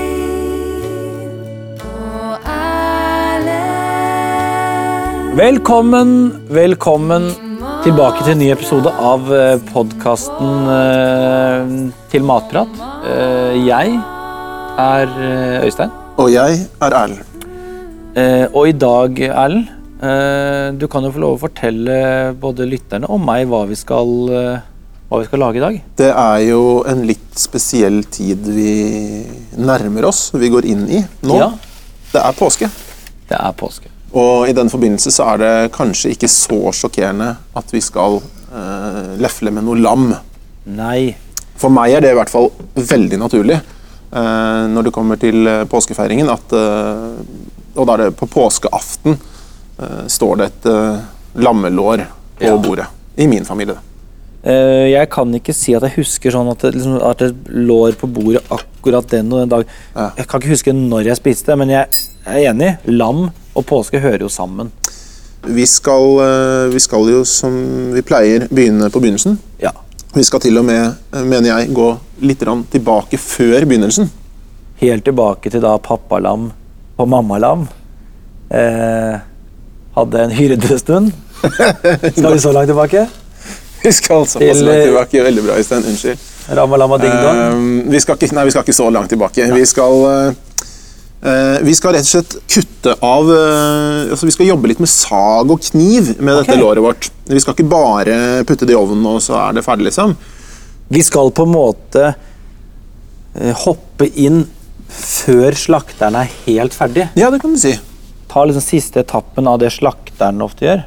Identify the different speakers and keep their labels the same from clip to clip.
Speaker 1: Øystein og Erlend.
Speaker 2: Velkommen, velkommen tilbake til en ny episode av podkasten Til matprat. Eh, Jeg er eh, Øystein,
Speaker 3: Og jeg er Erlend.
Speaker 2: Eh, og i dag, Erlend, eh, du kan jo få lov å fortelle både lytterne og meg hva vi skal, eh, hva vi skal lage i dag.
Speaker 3: Det er jo en litt spesiell tid vi nærmer oss, vi går inn i nå.
Speaker 2: Ja.
Speaker 3: Det er påske.
Speaker 2: Det er påske.
Speaker 3: Og i den forbindelse så er det kanskje ikke så sjokkerende at vi skal eh, lefle med noe lam.
Speaker 2: Nei.
Speaker 3: For meg er det i hvert fall veldig naturlig eh, når det kommer til eh, påskefeiringen. At, eh, og da er det på påskeaften eh, står det et eh, lammelår på
Speaker 2: Ja.
Speaker 3: bordet. I min familie. da.
Speaker 2: Eh, Jeg kan ikke si at jeg husker sånn at det, liksom, at det lår på bordet akkurat den og den dag.
Speaker 3: Ja.
Speaker 2: Jeg kan ikke huske når jeg spiste det, men jeg er enig. Lam og påske hører jo sammen.
Speaker 3: Vi skal, eh, vi skal jo, som vi pleier, begynne på begynnelsen.
Speaker 2: Ja.
Speaker 3: Vi skal til og med, eh, mener jeg, gå litt grann tilbake før begynnelsen.
Speaker 2: Helt tilbake til da pappalam og mammalam eh, hadde en hyrdestund. Skal vi så langt tilbake?
Speaker 3: Vi skal såpass
Speaker 2: Til,
Speaker 3: langt
Speaker 2: eh,
Speaker 3: tilbake. Veldig bra, Øystein. Unnskyld.
Speaker 2: Ramalama ding dong.
Speaker 3: Eh, vi, skal ikke, nei, vi skal ikke så langt tilbake. Vi skal, eh, eh, vi skal rett og slett kutte av eh, altså Vi skal jobbe litt med sag og kniv med
Speaker 2: Ok.
Speaker 3: dette låret vårt. Vi skal ikke bare putte det i ovnen, og så er det ferdig, liksom.
Speaker 2: Vi skal på en måte eh, hoppe inn før slakteren er helt ferdig.
Speaker 3: Ja, det kan du si.
Speaker 2: Ta liksom siste etappen av det slakteren ofte gjør.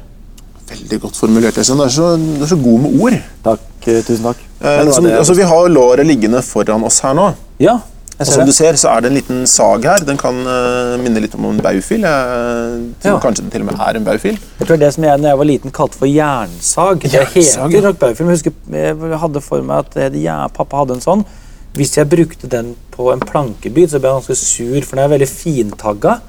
Speaker 3: Veldig godt formulert. Øystein. Du er, så- du er så god med ord.
Speaker 2: Takk, eh, tusen takk.
Speaker 3: Eh,
Speaker 2: Det var
Speaker 3: som,
Speaker 2: det jeg-
Speaker 3: altså, vi har låret liggende foran oss her nå.
Speaker 2: ja, jeg
Speaker 3: Og
Speaker 2: ser
Speaker 3: som du
Speaker 2: det.
Speaker 3: ser, så er det en liten sag her. Den kan eh, minne litt om en baufil. Jeg tror
Speaker 2: Ja.
Speaker 3: kanskje det til og med er en baufil.
Speaker 2: Jeg tror det som jeg når jeg var liten kalte for jernsag. Det
Speaker 3: Jernsag,
Speaker 2: heter
Speaker 3: ja.
Speaker 2: nok Baufil, men jeg husker jeg hadde for meg at det, het- ja, pappa hadde en sånn. Hvis jeg brukte den på en plankebit, så ble jeg ganske sur, for den er veldig fintagga.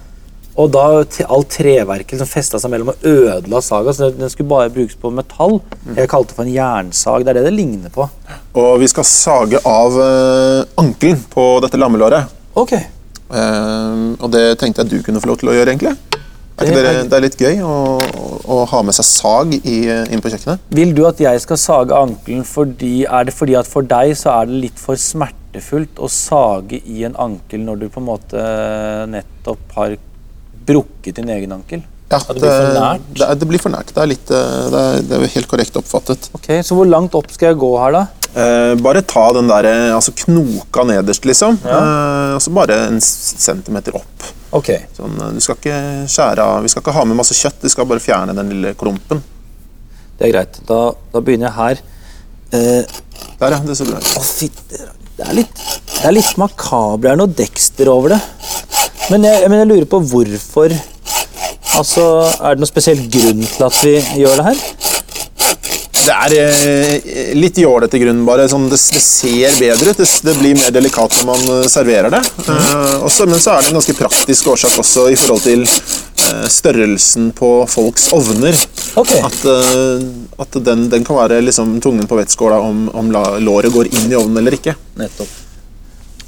Speaker 2: Og da til alt treverket liksom festa seg mellom og ødela saga, så den skulle bare brukes på metall. Jeg kalte det for en jernsag. Det er det det ligner på.
Speaker 3: Og vi skal sage av eh, ankelen på dette lammelåret.
Speaker 2: Ok.
Speaker 3: Eh, og det tenkte jeg du kunne få lov til å gjøre, egentlig. Er ikke
Speaker 2: Det er-
Speaker 3: dere, det er litt gøy å, å, å ha med seg sag i, eh, inn på kjøkkenet.
Speaker 2: Vil du at jeg skal sage ankelen fordi Er det fordi at for deg så er det litt for smertefullt å sage i en ankel når du på en måte eh, nettopp har brukket din egen ankel?
Speaker 3: Ja,
Speaker 2: At det blir for nært?
Speaker 3: Det, er- det blir for nært. Det er, litt, eh, det er, det er helt korrekt oppfattet.
Speaker 2: Ok, Så hvor langt opp skal jeg gå her, da?
Speaker 3: Eh, bare ta den der, eh, altså knoka nederst, liksom. Eh, og så bare en s- centimeter opp.
Speaker 2: Ok.
Speaker 3: Sånn, eh, du skal ikke skjære av Vi skal ikke ha med masse kjøtt, vi skal bare fjerne den lille klumpen.
Speaker 2: Det er greit. Da, da begynner jeg her. Eh,
Speaker 3: Der, ja. Det ser bra ut.
Speaker 2: å, fitte rakker. Det er litt, det er litt makabre. Det er noe Dexter over det. Men jeg, men jeg lurer på hvorfor Altså, Er det noen spesiell grunn til at vi gjør det her?
Speaker 3: Det er eh, litt jålete grunn, bare. Sånn, det, det ser bedre ut. Det, s- det blir mer delikat når man eh, serverer det. Eh, også, men så er det en ganske praktisk årsak også i forhold til eh, størrelsen på folks ovner.
Speaker 2: Ok.
Speaker 3: At, eh, at den, den kan være liksom, tungen på vettskåla om, om la, låret går inn i ovnen eller ikke.
Speaker 2: Nettopp.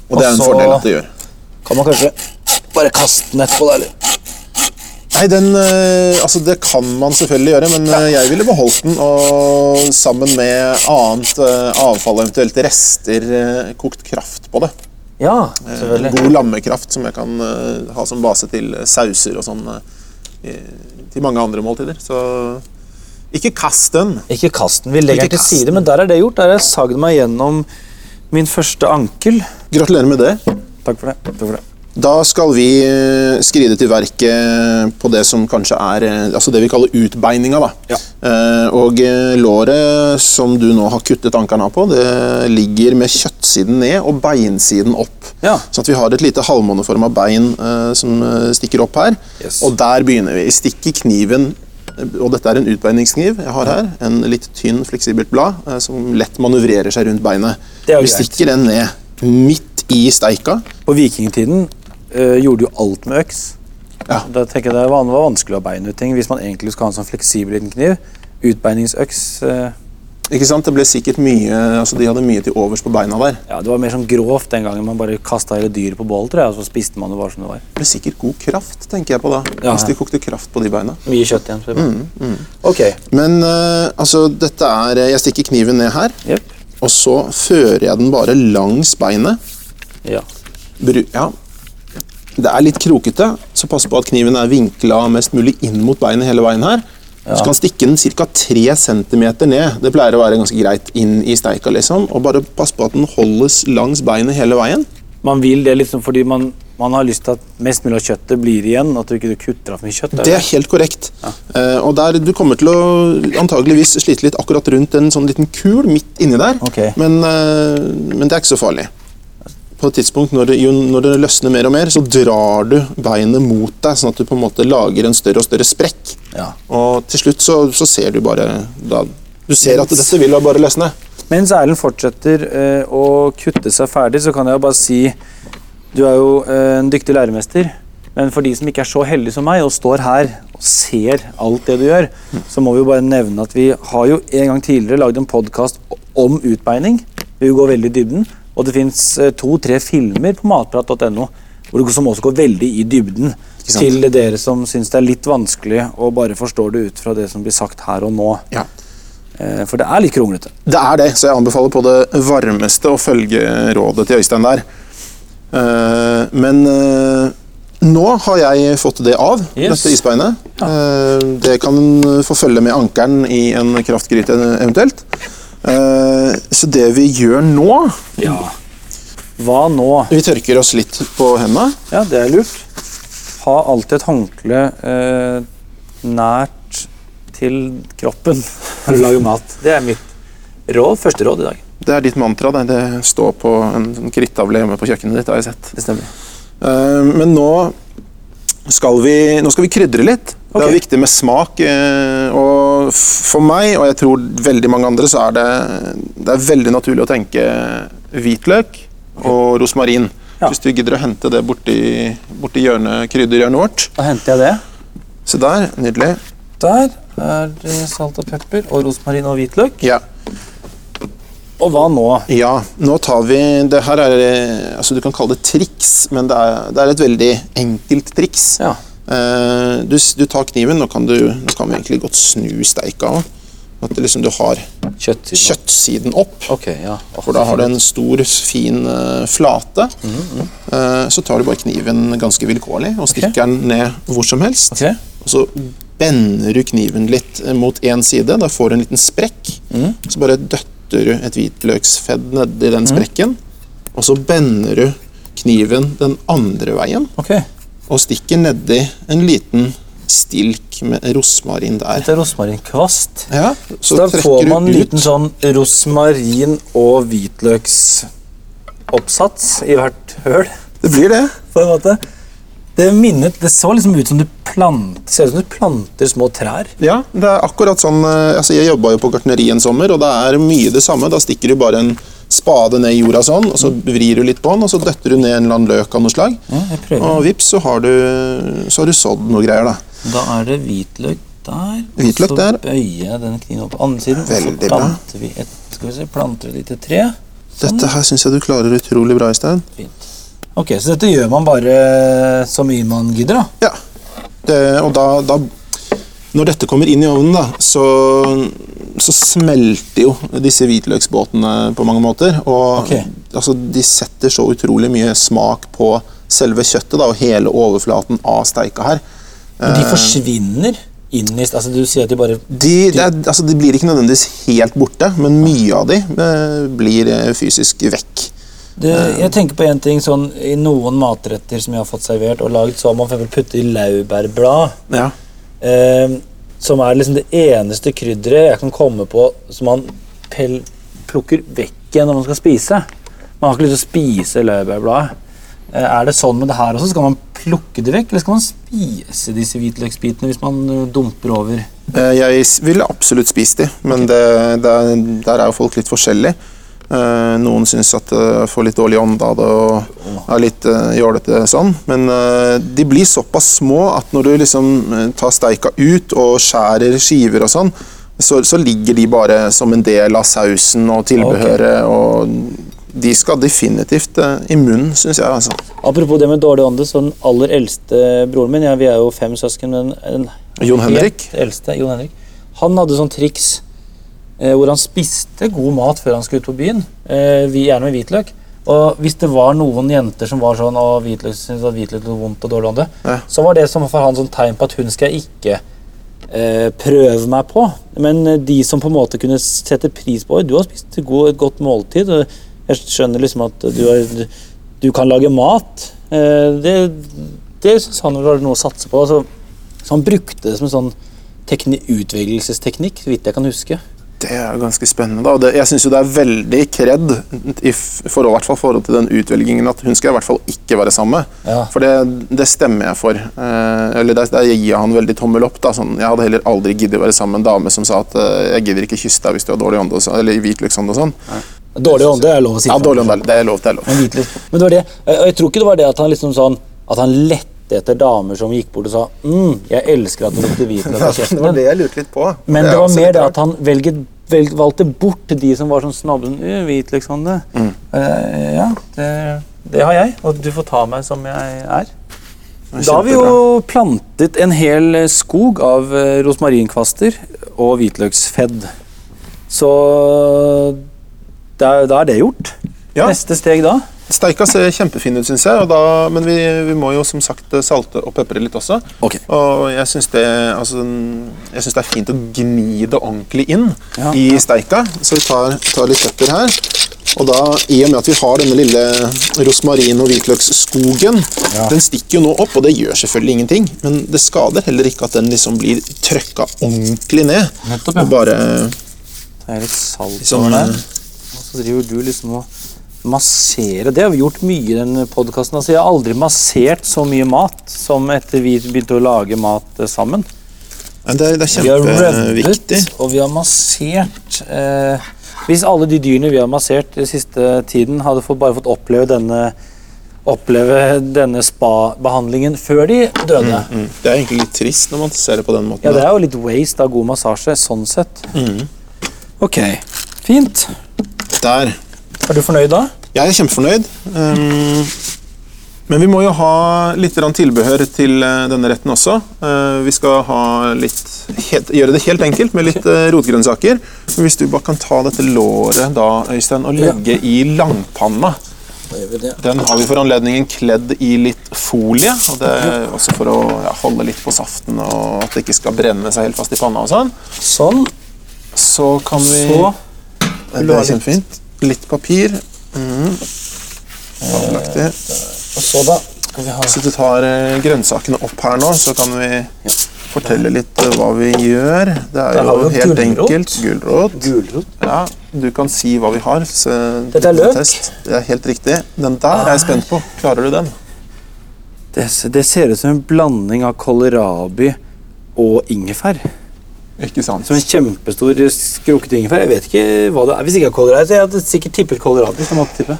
Speaker 3: Og det er en
Speaker 2: Også-
Speaker 3: fordel at det gjør.
Speaker 2: Kan man kanskje bare kaste den etterpå, da? eller?
Speaker 3: Nei, den, eh, altså Det kan man selvfølgelig gjøre, men eh, jeg ville beholdt den. Og sammen med annet eh, avfall, eventuelt rester, eh, kokt kraft på det.
Speaker 2: Ja,
Speaker 3: Eh,
Speaker 2: selvfølgelig.
Speaker 3: God lammekraft som jeg kan eh, ha som base til eh, sauser og sånn. eh, i- Til mange andre måltider. Så ikke kast den.
Speaker 2: Ikke kast den. Vi legger den
Speaker 3: Ikke
Speaker 2: til
Speaker 3: kast den.
Speaker 2: side, men der er det gjort. Der har jeg sagd meg gjennom min første ankel.
Speaker 3: Gratulerer med det.
Speaker 2: Takk for det. Takk for det.
Speaker 3: Da skal vi eh, skride til verket på det som kanskje er eh, altså det vi kaller utbeininga. da.
Speaker 2: Ja.
Speaker 3: Eh, Og eh, låret som du nå har kuttet ankelen av på, det ligger med kjøttsiden ned og beinsiden opp.
Speaker 2: Ja.
Speaker 3: Sånn at vi har et lite halvmåneforma bein eh, som eh, stikker opp her.
Speaker 2: Yes.
Speaker 3: Og der begynner vi. Stikk i kniven. eh, Og dette er en utbeiningskniv jeg har her. En litt tynn, fleksibelt blad eh, som lett manøvrerer seg rundt beinet.
Speaker 2: Det er jo
Speaker 3: vi
Speaker 2: greit.
Speaker 3: stikker den ned midt i steika.
Speaker 2: På vikingtiden eh, gjorde du jo alt med øks.
Speaker 3: Ja.
Speaker 2: Da tenker jeg Det var det var vanskelig å beine ut ting hvis man egentlig skulle ha en sånn fleksibel liten kniv. Utbeiningsøks eh,
Speaker 3: Ikke sant? Det ble sikkert mye, altså De hadde mye til overs på beina der.
Speaker 2: Ja, Det var mer sånn grovt den gangen. Man bare kasta hele dyret på bålet, tror jeg, og så spiste man det bare som det var.
Speaker 3: Det ble sikkert god kraft, tenker jeg på da.
Speaker 2: Ja.
Speaker 3: Hvis de kokte kraft på de beina.
Speaker 2: Mye kjøtt igjen. så det er bra. Mm, Ok.
Speaker 3: Men eh, altså, dette er Jeg stikker kniven ned her,
Speaker 2: Jepp.
Speaker 3: og så fører jeg den bare langs beinet.
Speaker 2: Ja.
Speaker 3: Bru ja. Det er litt krokete, så pass på at kniven er vinkla mest mulig inn mot beinet hele veien her. Så kan stikke den ca. 3 cm ned. Det pleier å være ganske greit inn i steika. liksom. Og bare pass på at den holdes langs beinet hele veien.
Speaker 2: Man vil det liksom fordi man, man har lyst til at mest mulig av kjøttet blir igjen. At du ikke kutter av for mye kjøtt.
Speaker 3: Det er helt korrekt. Eh, og der, Du kommer til å antageligvis slite litt akkurat rundt en sånn liten kul midt inni der,
Speaker 2: Ok.
Speaker 3: men, eh, men det er ikke så farlig. På et tidspunkt når det, jo, når det løsner mer og mer, så drar du beinet mot deg, sånn at du på en måte lager en større og større sprekk.
Speaker 2: Ja.
Speaker 3: Og til slutt så, så ser du bare da, Du ser at dette vil da bare løsne.
Speaker 2: Mens Erlend fortsetter eh, å kutte seg ferdig, så kan jeg jo bare si Du er jo eh, en dyktig læremester, men for de som ikke er så heldige som meg, og står her og ser alt det du gjør, så må vi jo bare nevne at vi har jo en gang tidligere lagd en podkast om utbeining. Vi går veldig i dybden. Og det fins to-tre filmer på matprat.no hvor det- som også går veldig i dybden.
Speaker 3: sant?
Speaker 2: Til dere som syns det er litt vanskelig og bare forstår det ut fra det som blir sagt her og nå.
Speaker 3: Ja.
Speaker 2: Eh, For det er litt kronglete.
Speaker 3: Det er det, så jeg anbefaler på det varmeste å følge rådet til Øystein der. Eh, men eh, nå har jeg fått det av,
Speaker 2: Yes.
Speaker 3: dette isbeinet. Eh, det kan få følge med ankeren i en kraftgryte eventuelt. Eh, så det vi gjør nå
Speaker 2: Ja. Hva nå?
Speaker 3: Vi tørker oss litt på hendene.
Speaker 2: Ja, det er lurt. Ha alltid et håndkle eh, nært til kroppen når du lager mat. Det er mitt råd, første råd i dag.
Speaker 3: Det er ditt mantra. Det, det står på en sånn krittavle hjemme på kjøkkenet ditt. har jeg sett.
Speaker 2: Det stemmer.
Speaker 3: Eh, men nå skal vi, nå skal vi krydre litt. Det
Speaker 2: Ok.
Speaker 3: er viktig med smak. eh, og f- for meg, og jeg tror veldig mange andre, så er det, det er veldig naturlig å tenke hvitløk og rosmarin.
Speaker 2: Ja.
Speaker 3: Hvis du gidder å hente det borti, borti hjørnet, krydderhjørnet vårt.
Speaker 2: Da henter jeg det.
Speaker 3: Se der, nydelig.
Speaker 2: Der er det salt og pepper og rosmarin og hvitløk.
Speaker 3: Ja.
Speaker 2: Og hva nå?
Speaker 3: Ja, nå tar vi Det her er eh, altså Du kan kalle det triks, men det er, det er et veldig enkelt triks.
Speaker 2: Ja.
Speaker 3: Eh, du, s- du tar kniven, nå kan, du, nå kan vi egentlig godt snu steika. også. At det liksom du har
Speaker 2: Kjøtt.
Speaker 3: kjøttsiden opp.
Speaker 2: Ok, ja.
Speaker 3: For da har du en stor, fin eh, flate. Eh, så tar du bare kniven ganske vilkårlig og stikker den ned hvor som helst.
Speaker 2: Ok.
Speaker 3: Og så bender du kniven litt eh, mot én side. Da får du en liten sprekk.
Speaker 2: Mm.
Speaker 3: Så bare døtter du et hvitløksfedd nedi den sprekken. Og så bender du kniven den andre veien
Speaker 2: Ok,
Speaker 3: og stikker nedi en liten stilk med rosmarin der.
Speaker 2: Dette er rosmarinkvast.
Speaker 3: Ja,
Speaker 2: Så da får man en liten sånn rosmarin- og hvitløksoppsats i hvert høl.
Speaker 3: Det blir det.
Speaker 2: på en måte. Det minnet, det så liksom ut som du plant, ser ut som du planter små trær.
Speaker 3: Ja, det er akkurat sånn eh, altså Jeg jobba jo på gartneri en sommer, og det er mye det samme. Da stikker du bare en spade ned i jorda sånn, og så vrir du litt på den, og så døtter du ned en eller annen løk av noe slag.
Speaker 2: jeg prøver.
Speaker 3: Og vips, så har du, så har du sådd noe greier, da.
Speaker 2: Da er det hvitløk der. og
Speaker 3: Hvitløk
Speaker 2: så
Speaker 3: der.
Speaker 2: bøyer jeg den kniven opp på andre siden. og
Speaker 3: Veldig
Speaker 2: så
Speaker 3: bra.
Speaker 2: planter vi et, skal vi se, planter et lite tre. Sånn,
Speaker 3: Dette her syns jeg du klarer utrolig bra, Øystein.
Speaker 2: fint. Ok, så dette gjør man bare så mye man gidder, da.
Speaker 3: Ja. Det, og da, da Når dette kommer inn i ovnen, da, så, så smelter jo disse hvitløksbåtene på mange måter. Og
Speaker 2: Ok.
Speaker 3: altså, de setter så utrolig mye smak på selve kjøttet da, og hele overflaten av steika her.
Speaker 2: Men
Speaker 3: Eh.
Speaker 2: de forsvinner inn i Altså, du sier at de bare
Speaker 3: De, det er, altså, de blir ikke nødvendigvis helt borte, men mye av de eh, blir eh, fysisk vekk.
Speaker 2: det,
Speaker 3: Eh.
Speaker 2: Jeg tenker på en ting sånn I noen matretter som jeg har fått servert og lagd, så har man for eksempel puttet i laurbærblad.
Speaker 3: Ja.
Speaker 2: Eh, som er liksom det eneste krydderet jeg kan komme på som man pel plukker vekk igjen når man skal spise. Man har ikke lyst til å spise laurbærbladet. Eh, er det sånn med det her også? Skal man plukke det vekk, eller skal man spise disse hvitløksbitene hvis man eh, dumper over?
Speaker 3: Eh, Jeg s- ville absolutt spist de, men det, det, er- der er jo folk litt forskjellige. Eh, Noen syns at jeg får litt dårlig ånde av det og er litt eh, jålete sånn. Men eh, de blir såpass små at når du liksom eh, tar steika ut og skjærer skiver og sånn, så, så ligger de bare som en del av sausen og tilbehøret. Og de skal definitivt eh, i munnen, syns jeg. Altså.
Speaker 4: Apropos det med dårlig ånde, så den aller eldste broren min ja, Vi er jo fem søsken, men den
Speaker 3: Jon Henrik?
Speaker 4: helt eldste, Jon Henrik, han hadde sånn triks eh, hvor han spiste god mat før han skulle ut på byen. Eh, vi, gjerne med hvitløk. Og hvis det var noen jenter som var sånn og hvitløk syntes at hvitløk var vondt og dårlig ånde,
Speaker 3: Ja.
Speaker 4: så var det som for han sånn tegn på at hun skal jeg ikke eh, prøve meg på. Men eh, de som på en måte kunne sette pris på «Oi, Du har spist god, et godt måltid. og Jeg skjønner liksom at du, er, du kan lage mat. Eh, det det syns han var noe å satse på. Altså, så han brukte det som en sånn tekni utvelgelsesteknikk, så vidt jeg kan huske.
Speaker 3: Det er jo ganske spennende. da. Og det, jeg syns jo det er veldig kred, i f- forhold, hvert fall forhold til den utvelgingen, at hun skal i hvert fall ikke være sammen med.
Speaker 4: Ja.
Speaker 3: For det, det stemmer jeg for. Eh, eller der, der gir jeg han veldig tommel opp. Da. Sånn, jeg hadde heller aldri giddet å være sammen med en dame som sa at eh, jeg gidder ikke kysse deg hvis du har dårlig ånde, og så- eller hvitløksånde og sånn.
Speaker 4: Dårlig ånde er lov å si.
Speaker 3: Ja,
Speaker 4: fra.
Speaker 3: dårlig ånde, er- det er lov, det er lov.
Speaker 4: Men hvitløk. Men det var det. eh, Og jeg tror ikke det var det at han liksom sånn At han lette etter damer som gikk bort og sa mm, 'Jeg elsker at du lukter hvitløk av kjeften din'.
Speaker 3: jeg lurte litt på.
Speaker 4: Men det var mer det at han velget, velg, valgte bort de som var sånn snobbe. Sånn, «Øh, hvitløksånde. Eh, ja, det, det har jeg. Og du får ta meg som jeg er.
Speaker 2: Da har vi jo plantet en hel eh, skog av eh, rosmarinkvaster og hvitløksfedd. Så da er, da er det gjort.
Speaker 3: Ja.
Speaker 2: Neste steg da?
Speaker 3: Steika ser kjempefin ut, syns jeg, og da, men vi, vi må jo som sagt salte og pepre litt også.
Speaker 2: Ok.
Speaker 3: Og jeg syns det, altså, jeg synes det er fint å gni det ordentlig inn
Speaker 2: Ja.
Speaker 3: i steika. Så vi tar, tar litt pepper her. Og da, I og med at vi har denne lille rosmarin- og hvitløksskogen, den stikker jo nå opp, og det gjør selvfølgelig ingenting, men det skader heller ikke at den liksom blir trøkka ordentlig ned.
Speaker 2: Nettopp, ja.
Speaker 3: Og bare
Speaker 2: Det er litt salt
Speaker 3: Liksom,
Speaker 2: over der.
Speaker 3: eh,
Speaker 2: Og så driver du liksom og masserer. Det har vi gjort mye i den podkasten. Altså, jeg har aldri massert så mye mat som etter vi begynte å lage mat eh, sammen.
Speaker 3: Nei, det, er, det er
Speaker 2: Vi har
Speaker 3: kjempeviktig.
Speaker 2: røddet og vi har massert. Eh, hvis alle de dyrene vi har massert den siste tiden, hadde fått, bare fått oppleve denne oppleve denne spa-behandlingen før de døde.
Speaker 3: Mm. Det er egentlig litt trist når man ser det på den måten.
Speaker 2: Ja, det er jo litt waste av god massasje, sånn sett.
Speaker 3: Mm.
Speaker 2: Ok, fint.
Speaker 3: Der.
Speaker 2: Er du fornøyd da?
Speaker 3: Jeg er kjempefornøyd. ehm, men vi må jo ha litt grann tilbehør til eh, denne retten også. Eh, vi skal ha litt, helt, gjøre det helt enkelt med litt eh, rotgrønnsaker. Men Hvis du bare kan ta dette låret da, Øystein, og legge i langpanna.
Speaker 4: E
Speaker 3: Den har vi for anledningen kledd i litt folie. og det er Også for å ja, holde litt på saften og at det ikke skal brenne seg helt fast i panna. og sånn.
Speaker 2: Sånn.
Speaker 3: Så kan vi
Speaker 2: Så
Speaker 3: Det er kjempefint. Litt papir. Mhm. Fabelaktig.
Speaker 4: Og så, da skal vi ha
Speaker 3: Så du tar eh, grønnsakene opp her nå, så kan vi fortelle litt eh, hva vi gjør. Det er
Speaker 4: Der har
Speaker 3: jo
Speaker 4: vi jo
Speaker 3: helt
Speaker 4: gulrot.
Speaker 3: enkelt gulrot.
Speaker 4: gulrot.
Speaker 3: Ja, du kan si hva vi har. Så
Speaker 4: Dette er løk.
Speaker 3: Test. Det er helt riktig. Den der er jeg spent på. Klarer du den?
Speaker 2: det, se- det ser ut som en blanding av kålrabi og ingefær.
Speaker 3: Ikke sant?
Speaker 2: Som en kjempestor skrukket ingefær. Jeg vet ikke hva det er. Hvis ikke jeg har kålrabi, så jeg hadde sikkert tippet kålrabi. som måtte tippe.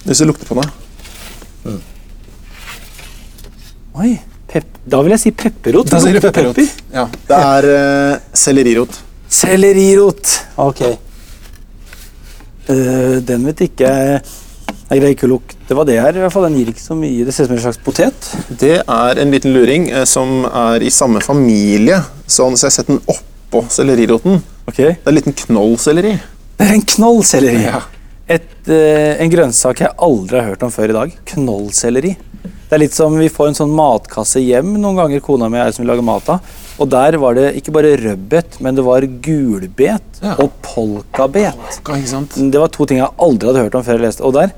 Speaker 3: Hvis du lukter på den.
Speaker 2: Oi, pep da vil jeg si pepperrot.
Speaker 3: Da sier du
Speaker 2: Lukter
Speaker 3: pepperrot.
Speaker 2: pepper.
Speaker 3: Ja, det er eh, sellerirot.
Speaker 2: Sellerirot. Ok. Eh, den vet ikke jeg Jeg greier ikke å lukte hva det er. i hvert fall. Den gir ikke så mye. Det ser ut som en slags potet.
Speaker 3: Det er en liten luring eh, som er i samme familie, sånn, så jeg setter den oppå selleriroten.
Speaker 2: Ok. Det
Speaker 3: Det er en liten knollselleri.
Speaker 2: er en knollselleri. Et, eh, en grønnsak jeg aldri har hørt om før i dag. Knollselleri. Det er litt som vi får en sånn matkasse hjem noen ganger, kona mi og jeg som vil lage mat av. Og der var det ikke bare rødbet, men det var gulbet
Speaker 3: Ja.
Speaker 2: og polkabet.
Speaker 3: Ikke sant?
Speaker 2: Det var to ting jeg aldri hadde hørt om før jeg leste. Og der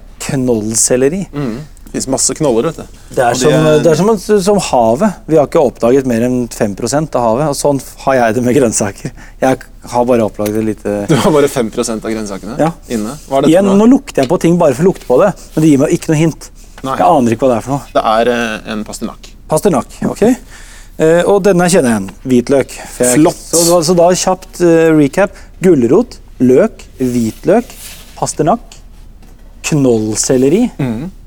Speaker 2: knollselleri.
Speaker 3: Det fins masse knoller, vet du.
Speaker 2: Det er,
Speaker 3: Mm. Og
Speaker 2: som,
Speaker 3: det-
Speaker 2: det er som, som havet. Vi har ikke oppdaget mer enn 5 av havet. Og sånn har jeg det med grønnsaker. Jeg har bare oppdaget et lite
Speaker 3: Du har bare 5 av grønnsakene
Speaker 2: Ja.
Speaker 3: inne. Hva er dette
Speaker 2: Igjen,
Speaker 3: for
Speaker 2: nå
Speaker 3: noe?
Speaker 2: lukter jeg på ting bare for å lukte på det, men det gir meg ikke noe hint.
Speaker 3: Nei.
Speaker 2: Jeg aner ikke hva det er for noe.
Speaker 3: Det er eh, en pastinakk.
Speaker 2: Pasternak. ok? Eh, og denne kjenner jeg igjen. Hvitløk. For jeg-
Speaker 3: Flott.
Speaker 2: Så, da- så da kjapt eh, recap. Gulrot, løk, hvitløk,
Speaker 3: Mm.
Speaker 2: pasternak, knollselleri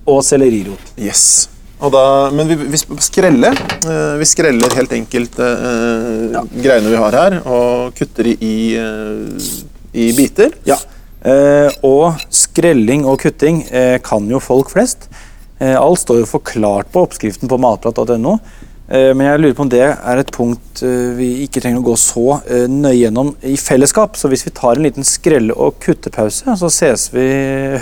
Speaker 2: og sellerirot.
Speaker 3: Yes. Og da, men vi, vi skreller. eh, Vi skreller helt enkelt eh, greiene vi har her, og kutter i, i, eh, i biter.
Speaker 2: Ja. Eh, og skrelling og kutting eh, kan jo folk flest. Eh, alt står jo forklart på oppskriften på matprat.no. Eh, men jeg lurer på om det er et punkt eh, vi ikke trenger å gå så eh, nøye gjennom i fellesskap. Så hvis vi tar en liten skrelle- og kuttepause, så ses vi,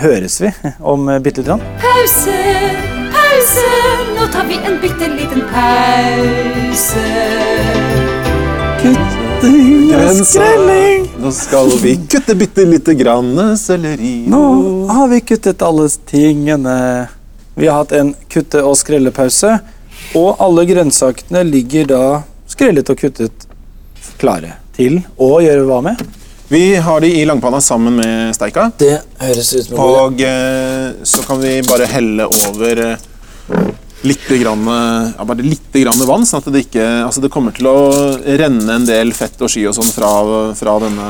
Speaker 2: høres vi om eh, bitte lite grann.
Speaker 1: Pause, pause, nå tar vi en bitte liten pause.
Speaker 2: Kutting
Speaker 3: og skrelling. Nå skal vi kutte bitte lite grann selleri.
Speaker 2: Nå har vi kuttet alle tingene. Vi har hatt en kutte- og skrellepause, og alle grønnsakene ligger da skrellet og kuttet klare til å gjøre hva med?
Speaker 3: Vi har de i langpanna sammen med steika.
Speaker 4: Det høres ut som en god idé.
Speaker 3: Og eh, så kan vi bare helle over eh, lite grann, eh, ja, bare lite grann vann, sånn at det ikke Altså, det kommer til å renne en del fett og sky og sånn fra, fra denne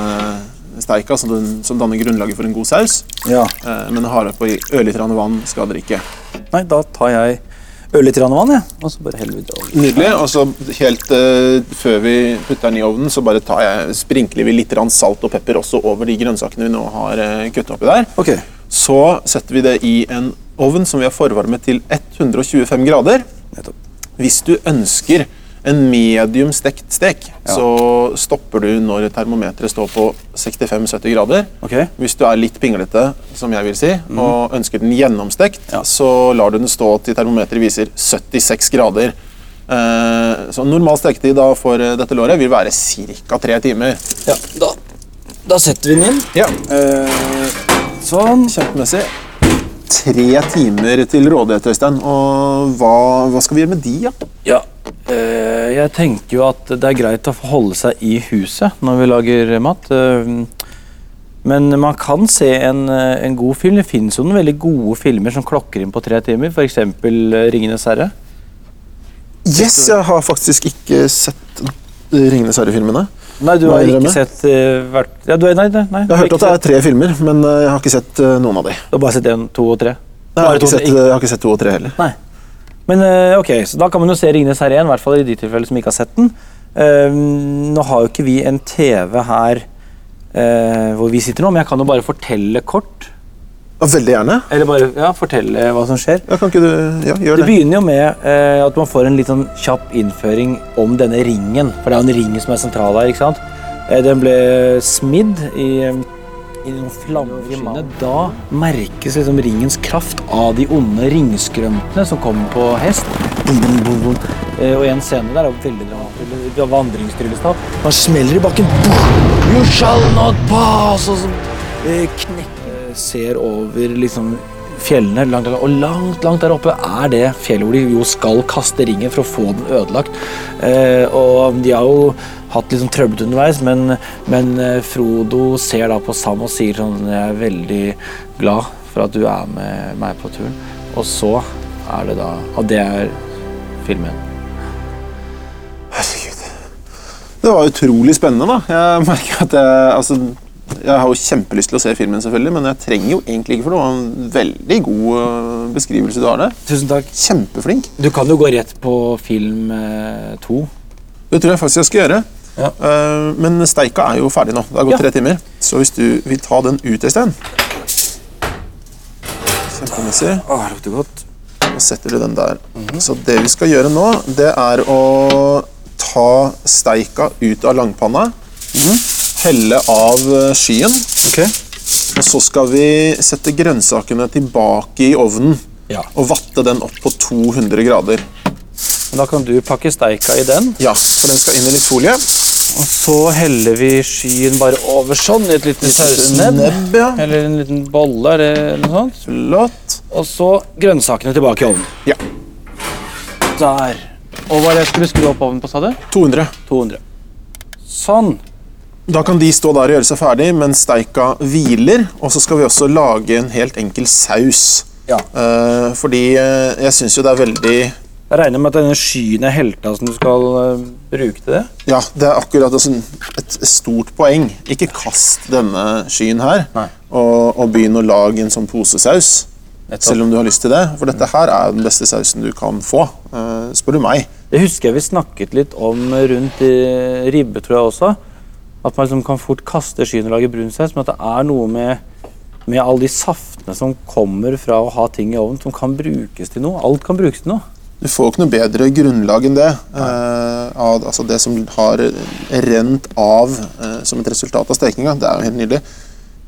Speaker 3: steika, som, den, som danner grunnlaget for en god saus.
Speaker 2: Ja.
Speaker 3: Eh, men har på i ørlite grann vann skader ikke.
Speaker 2: Nei, da tar jeg ørlite grann vann, jeg. Og så bare heller vi det over.
Speaker 3: Nydelig. Og så helt eh, før vi putter den i ovnen, så bare tar jeg, sprinkler vi litt grann salt og pepper også over de grønnsakene vi nå har uh, kutta oppi der.
Speaker 2: Ok.
Speaker 3: Så setter vi det i en ovn som vi har forvarmet til 125 grader.
Speaker 2: Nettopp.
Speaker 3: Hvis du ønsker en medium stekt stek, så stopper du når termometeret står på 65-70 grader.
Speaker 2: Ok. Mhm.
Speaker 3: Hvis du er litt pinglete, som jeg vil si, og ønsker den gjennomstekt,
Speaker 2: Ja.
Speaker 3: så lar du den stå til termometeret viser 76 grader. Eh, Så normal steketid da for eh, dette låret vil være ca. tre timer.
Speaker 4: Ja, da, da setter vi den inn.
Speaker 3: Ja,
Speaker 2: Eh, sånn.
Speaker 3: Kjempemessig. Tre timer til rådighet, Øystein. Og hva, hva skal vi gjøre med de, ja?
Speaker 2: Ja. eh, jeg tenker jo at det er greit å holde seg i huset når vi lager mat. eh, Men man kan se en, eh, en god film. Det finnes jo noen veldig gode filmer som klokker inn på tre timer. F.eks. 'Ringenes herre'.
Speaker 3: Yes, jeg har faktisk ikke sett Ringenes herre-filmene.
Speaker 2: Nei, du
Speaker 3: Hva
Speaker 2: har
Speaker 3: er det
Speaker 2: ikke
Speaker 3: med?
Speaker 2: sett eh, vært, ja, du, er- Nei, nei, nei.
Speaker 3: Jeg har hørt at det er tre filmer, men eh, jeg har ikke sett eh, noen av de.
Speaker 2: Du har bare sett én, to og tre? sånn
Speaker 3: Nei, Jeg har ikke
Speaker 2: to-
Speaker 3: sett, eh, jeg har ikke sett to og tre heller.
Speaker 2: Nei. Men eh, ok, så da kan man jo se Ringenes herre igjen, i hvert fall i de tilfellene som ikke har sett den. Eh, nå har jo ikke vi en TV her eh, hvor vi sitter nå, men jeg kan jo bare fortelle kort.
Speaker 3: Ja, Veldig gjerne.
Speaker 2: Eller bare ja, fortelle hva som skjer.
Speaker 3: Ja, kan ikke du ja, gjør
Speaker 2: Det
Speaker 3: det?
Speaker 2: begynner jo med eh, at man får en litt sånn kjapp innføring om denne ringen. For det er jo en ring som er sentral her. ikke sant? Eh, den ble smidd i, eh, i noen flammer i skinnet. Da merkes liksom ringens kraft av de onde ringskrømtene som kommer på hest. Bum, bum, bum, bum. Eh, og en scene der er jo veldig dramatisk. Vandringstryllestav. Man smeller i bakken. Boom! You shall not pass! Og så eh, knekke ser over liksom fjellene langt, langt, og langt, langt der oppe er det fjellet hvor de jo skal kaste ringen for å få den ødelagt. Eh, og de har jo hatt litt sånn trøblete underveis, men, men eh, Frodo ser da på Sam og sier sånn Jeg er veldig glad for at du er med meg på turen. Og så er det da Og det er filmen.
Speaker 3: Herregud. Det var utrolig spennende, da. Jeg merker at jeg Altså, jeg har jo kjempelyst til å se filmen, selvfølgelig, men jeg trenger jo egentlig ikke for noe. En veldig god eh, beskrivelse du har der.
Speaker 2: Tusen takk.
Speaker 3: Kjempeflink.
Speaker 2: Du kan jo gå rett på film eh, to.
Speaker 3: Det tror jeg faktisk jeg skal gjøre.
Speaker 2: Ja.
Speaker 3: Eh, men steika er jo ferdig nå. Det har gått
Speaker 2: Ja.
Speaker 3: tre timer. Så hvis du vil ta den ut, Øystein Kjempemessig.
Speaker 2: Å, lukter godt.
Speaker 3: Så setter du den der. Så det vi skal gjøre nå, det er å ta steika ut av langpanna. Helle av eh, skyen. Og så skal vi sette grønnsakene tilbake i ovnen.
Speaker 2: Ja.
Speaker 3: Og vatte den opp på 200 grader.
Speaker 2: Men Da kan du pakke steika i den.
Speaker 3: Ja, For den skal inn i litt folie.
Speaker 2: Og så heller vi skyen bare over sånn i et lite sausnebb.
Speaker 3: Nebb, ja.
Speaker 2: Eller en liten bolle eller noe sånt.
Speaker 3: Flott.
Speaker 2: Og så grønnsakene tilbake i ovnen.
Speaker 3: Ja.
Speaker 2: Der. Og hva er det jeg skulle skru opp ovnen på, sa du?
Speaker 3: 200.
Speaker 2: 200. Sånn.
Speaker 3: Da kan de stå der og gjøre seg ferdig mens steika hviler. Og så skal vi også lage en helt enkel saus.
Speaker 2: Ja.
Speaker 3: Eh, fordi eh, jeg syns jo det er veldig
Speaker 2: Jeg regner med at denne skyen er helta som du skal eh, bruke til det.
Speaker 3: Ja, det er akkurat altså et stort poeng. Ikke kast denne skyen her,
Speaker 2: Nei.
Speaker 3: og, og begynn å lage en sånn posesaus.
Speaker 2: Nettopp.
Speaker 3: Selv om du har lyst til det. For dette her er den beste sausen du kan få, eh, spør du meg.
Speaker 2: Det husker jeg vi snakket litt om rundt eh, ribbe, tror jeg også. At man liksom kan fort kaste skyen og lage brun saus, men at det er noe med, med alle de saftene som kommer fra å ha ting i ovnen, som kan brukes til noe. Alt kan brukes til noe.
Speaker 3: Du får ikke noe bedre grunnlag enn det. Eh, av, altså det som har rent av eh, som et resultat av stekinga. Det er jo helt nydelig.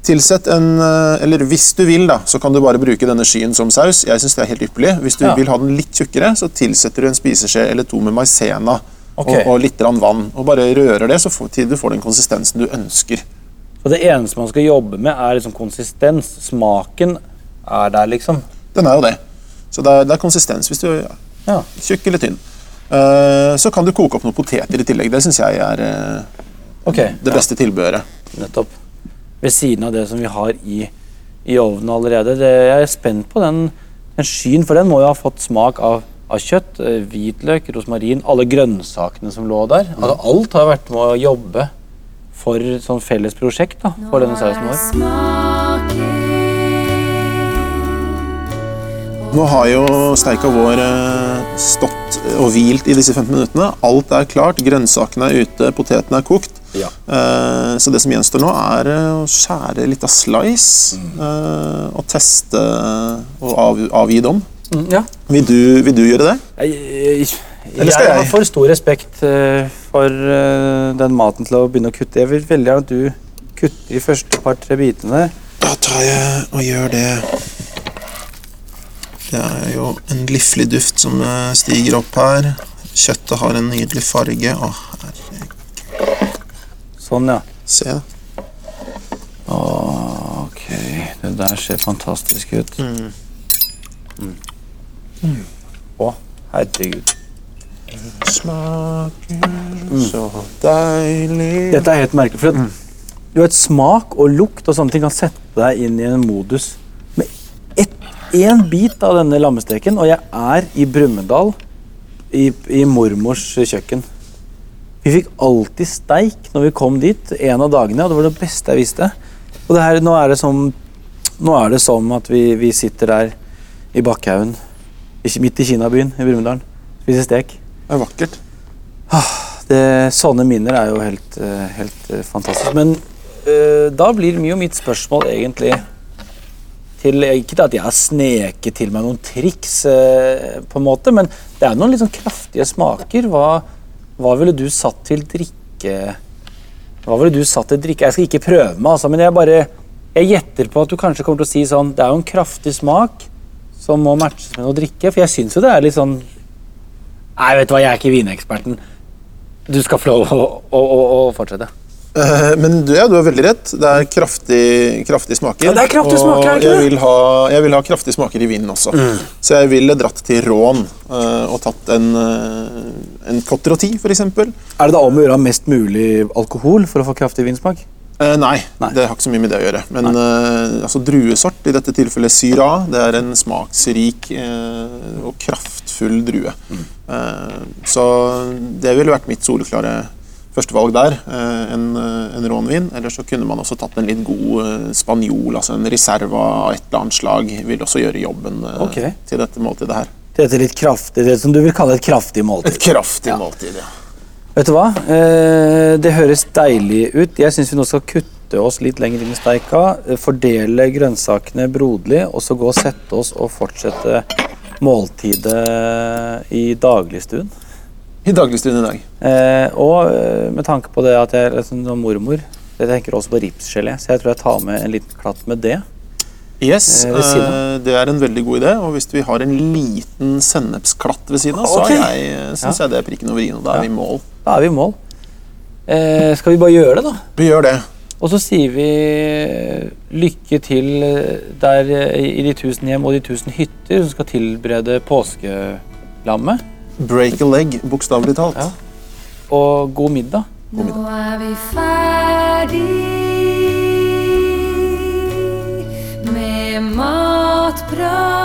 Speaker 3: Tilsett en, eh, eller Hvis du vil, da, så kan du bare bruke denne skyen som saus. Jeg synes det er helt ypperlig. Hvis du
Speaker 2: Ja.
Speaker 3: vil ha den litt tjukkere, så tilsetter du en spiseskje eller to med maisena
Speaker 2: Ok.
Speaker 3: og, og litt grann vann. Og bare rører det så får, til du får den konsistensen du ønsker.
Speaker 2: Så det eneste man skal jobbe med, er liksom konsistens. Smaken er der, liksom.
Speaker 3: Den er jo det. Så det er, det er konsistens hvis du er
Speaker 2: Ja.
Speaker 3: tjukk eller tynn. Eh, så kan du koke opp noen poteter i tillegg. Det syns jeg er eh,
Speaker 2: Ok,
Speaker 3: det beste tilbehøret.
Speaker 2: nettopp. Ved siden av det som vi har i, i ovnen allerede. Det, jeg er spent på den, den skyen, for den må jo ha fått smak av, av kjøtt, eh, hvitløk, rosmarin, alle grønnsakene som lå der. Altså, alt har vært med å jobbe for sånn felles prosjekt da, for denne sausen vår.
Speaker 3: Nå har jo steika vår eh, stått og hvilt i disse 15 minuttene. Alt er klart, grønnsakene er ute, potetene er kokt.
Speaker 2: Ja.
Speaker 3: Eh, Så det som gjenstår nå, er eh, å skjære litt av slice eh, og teste eh, og av, avgi dom.
Speaker 2: Mm, ja.
Speaker 3: Vil du, vil du gjøre det?
Speaker 2: Jeg, jeg,
Speaker 3: Eller skal
Speaker 2: jeg har
Speaker 3: jeg?
Speaker 2: for stor respekt eh, for eh, den maten til å begynne å kutte. Jeg vil veldig gjerne at du kutter de første par-tre bitene.
Speaker 3: Da tar jeg og gjør det. Det er jo en liflig duft som eh, stiger opp her. Kjøttet har en nydelig farge. Å, herregud.
Speaker 2: Sånn, ja.
Speaker 3: Se.
Speaker 2: Ok, det der ser fantastisk ut. Å, herregud.
Speaker 3: Smaker så deilig.
Speaker 2: Dette er helt merkelig. For at, du vet, smak og lukt og sånne ting kan sette deg inn i en modus. Med ett- én bit av denne lammesteken, og jeg er i Brumunddal, i, i mormors kjøkken. Vi fikk alltid steik når vi kom dit, en av dagene, og det var det beste jeg visste. Og det her, nå er det som, nå er det som at vi, vi sitter der i Bakkhaugen, i- midt i Kinabyen i Brumunddal, spiser stek.
Speaker 3: Det er vakkert.
Speaker 2: Det, sånne minner er jo helt, eh, helt eh, fantastisk. Men eh, da blir mye av mitt spørsmål egentlig til eh, Ikke at jeg har sneket til meg noen triks, eh, på en måte, men det er noen litt sånn kraftige smaker. Hva, hva ville du satt til drikke Hva ville du satt til drikke? Jeg skal ikke prøve meg, altså, men jeg bare jeg gjetter på at du kanskje kommer til å si sånn Det er jo en kraftig smak som må matches med noe drikke, for jeg syns jo det er litt sånn Nei, vet du hva, jeg er ikke vineksperten. Du skal få lov å, å, å, å fortsette.
Speaker 3: Eh, Men du, ja, du har veldig rett. Det er kraftig, kraftig smaker.
Speaker 2: Ja, det er kraftige smaker, er det
Speaker 3: og
Speaker 2: ikke
Speaker 3: jeg
Speaker 2: det? Mm.
Speaker 3: vil, ha, jeg vil ha kraftige smaker i vinen også. Så jeg ville dratt til Rån eh, og tatt en, eh, en Cotter og Ti, for eksempel.
Speaker 2: Er det da om å gjøre mest mulig alkohol for å få kraftig vinsmak?
Speaker 3: Eh, nei,
Speaker 2: Nei.
Speaker 3: det har ikke så mye med det å gjøre. Men eh, altså, druesort, i dette tilfellet Syra, det er en smaksrik eh, og kraftfull drue.
Speaker 2: Mm.
Speaker 3: Eh, så det ville vært mitt soleklare førstevalg der. eh, en, eh, en rånvin. Eller så kunne man også tatt en litt god eh, spanjol, altså en reserva av et eller annet slag. Vil også gjøre jobben eh,
Speaker 2: Ok.
Speaker 3: til dette måltidet her.
Speaker 2: Dette litt kraftig, det som du vil kalle et kraftig måltid.
Speaker 3: Et kraftig måltid, ja.
Speaker 2: Vet du hva? Eh, det høres deilig ut. Jeg syns vi nå skal kutte oss litt lenger inn i steika. eh, Fordele grønnsakene broderlig, og så gå og sette oss og fortsette måltidet i dagligstuen.
Speaker 3: I dagligstuen i dag.
Speaker 2: Eh, og eh, med tanke på det at jeg er liksom noen mormor Jeg tenker også på ripsgelé, så jeg tror jeg tar med en liten klatt med det.
Speaker 3: Yes,
Speaker 2: Eh, ved siden av.
Speaker 3: eh, det er en veldig god idé. Og hvis vi har en liten sennepsklatt ved siden av,
Speaker 2: Ok.
Speaker 3: så er jeg, synes jeg det er prikken over i-en, og da er vi i mål.
Speaker 2: Da er vi i mål. Eh, skal vi bare gjøre det, da?
Speaker 3: Vi gjør det.
Speaker 2: Og så sier vi eh, lykke til eh, der eh, i de tusen hjem og de tusen hytter som skal tilberede påskelammet.
Speaker 3: Break a leg, bokstavelig talt.
Speaker 2: Ja. Og god middag.
Speaker 1: Nå er vi ferdig med matprat.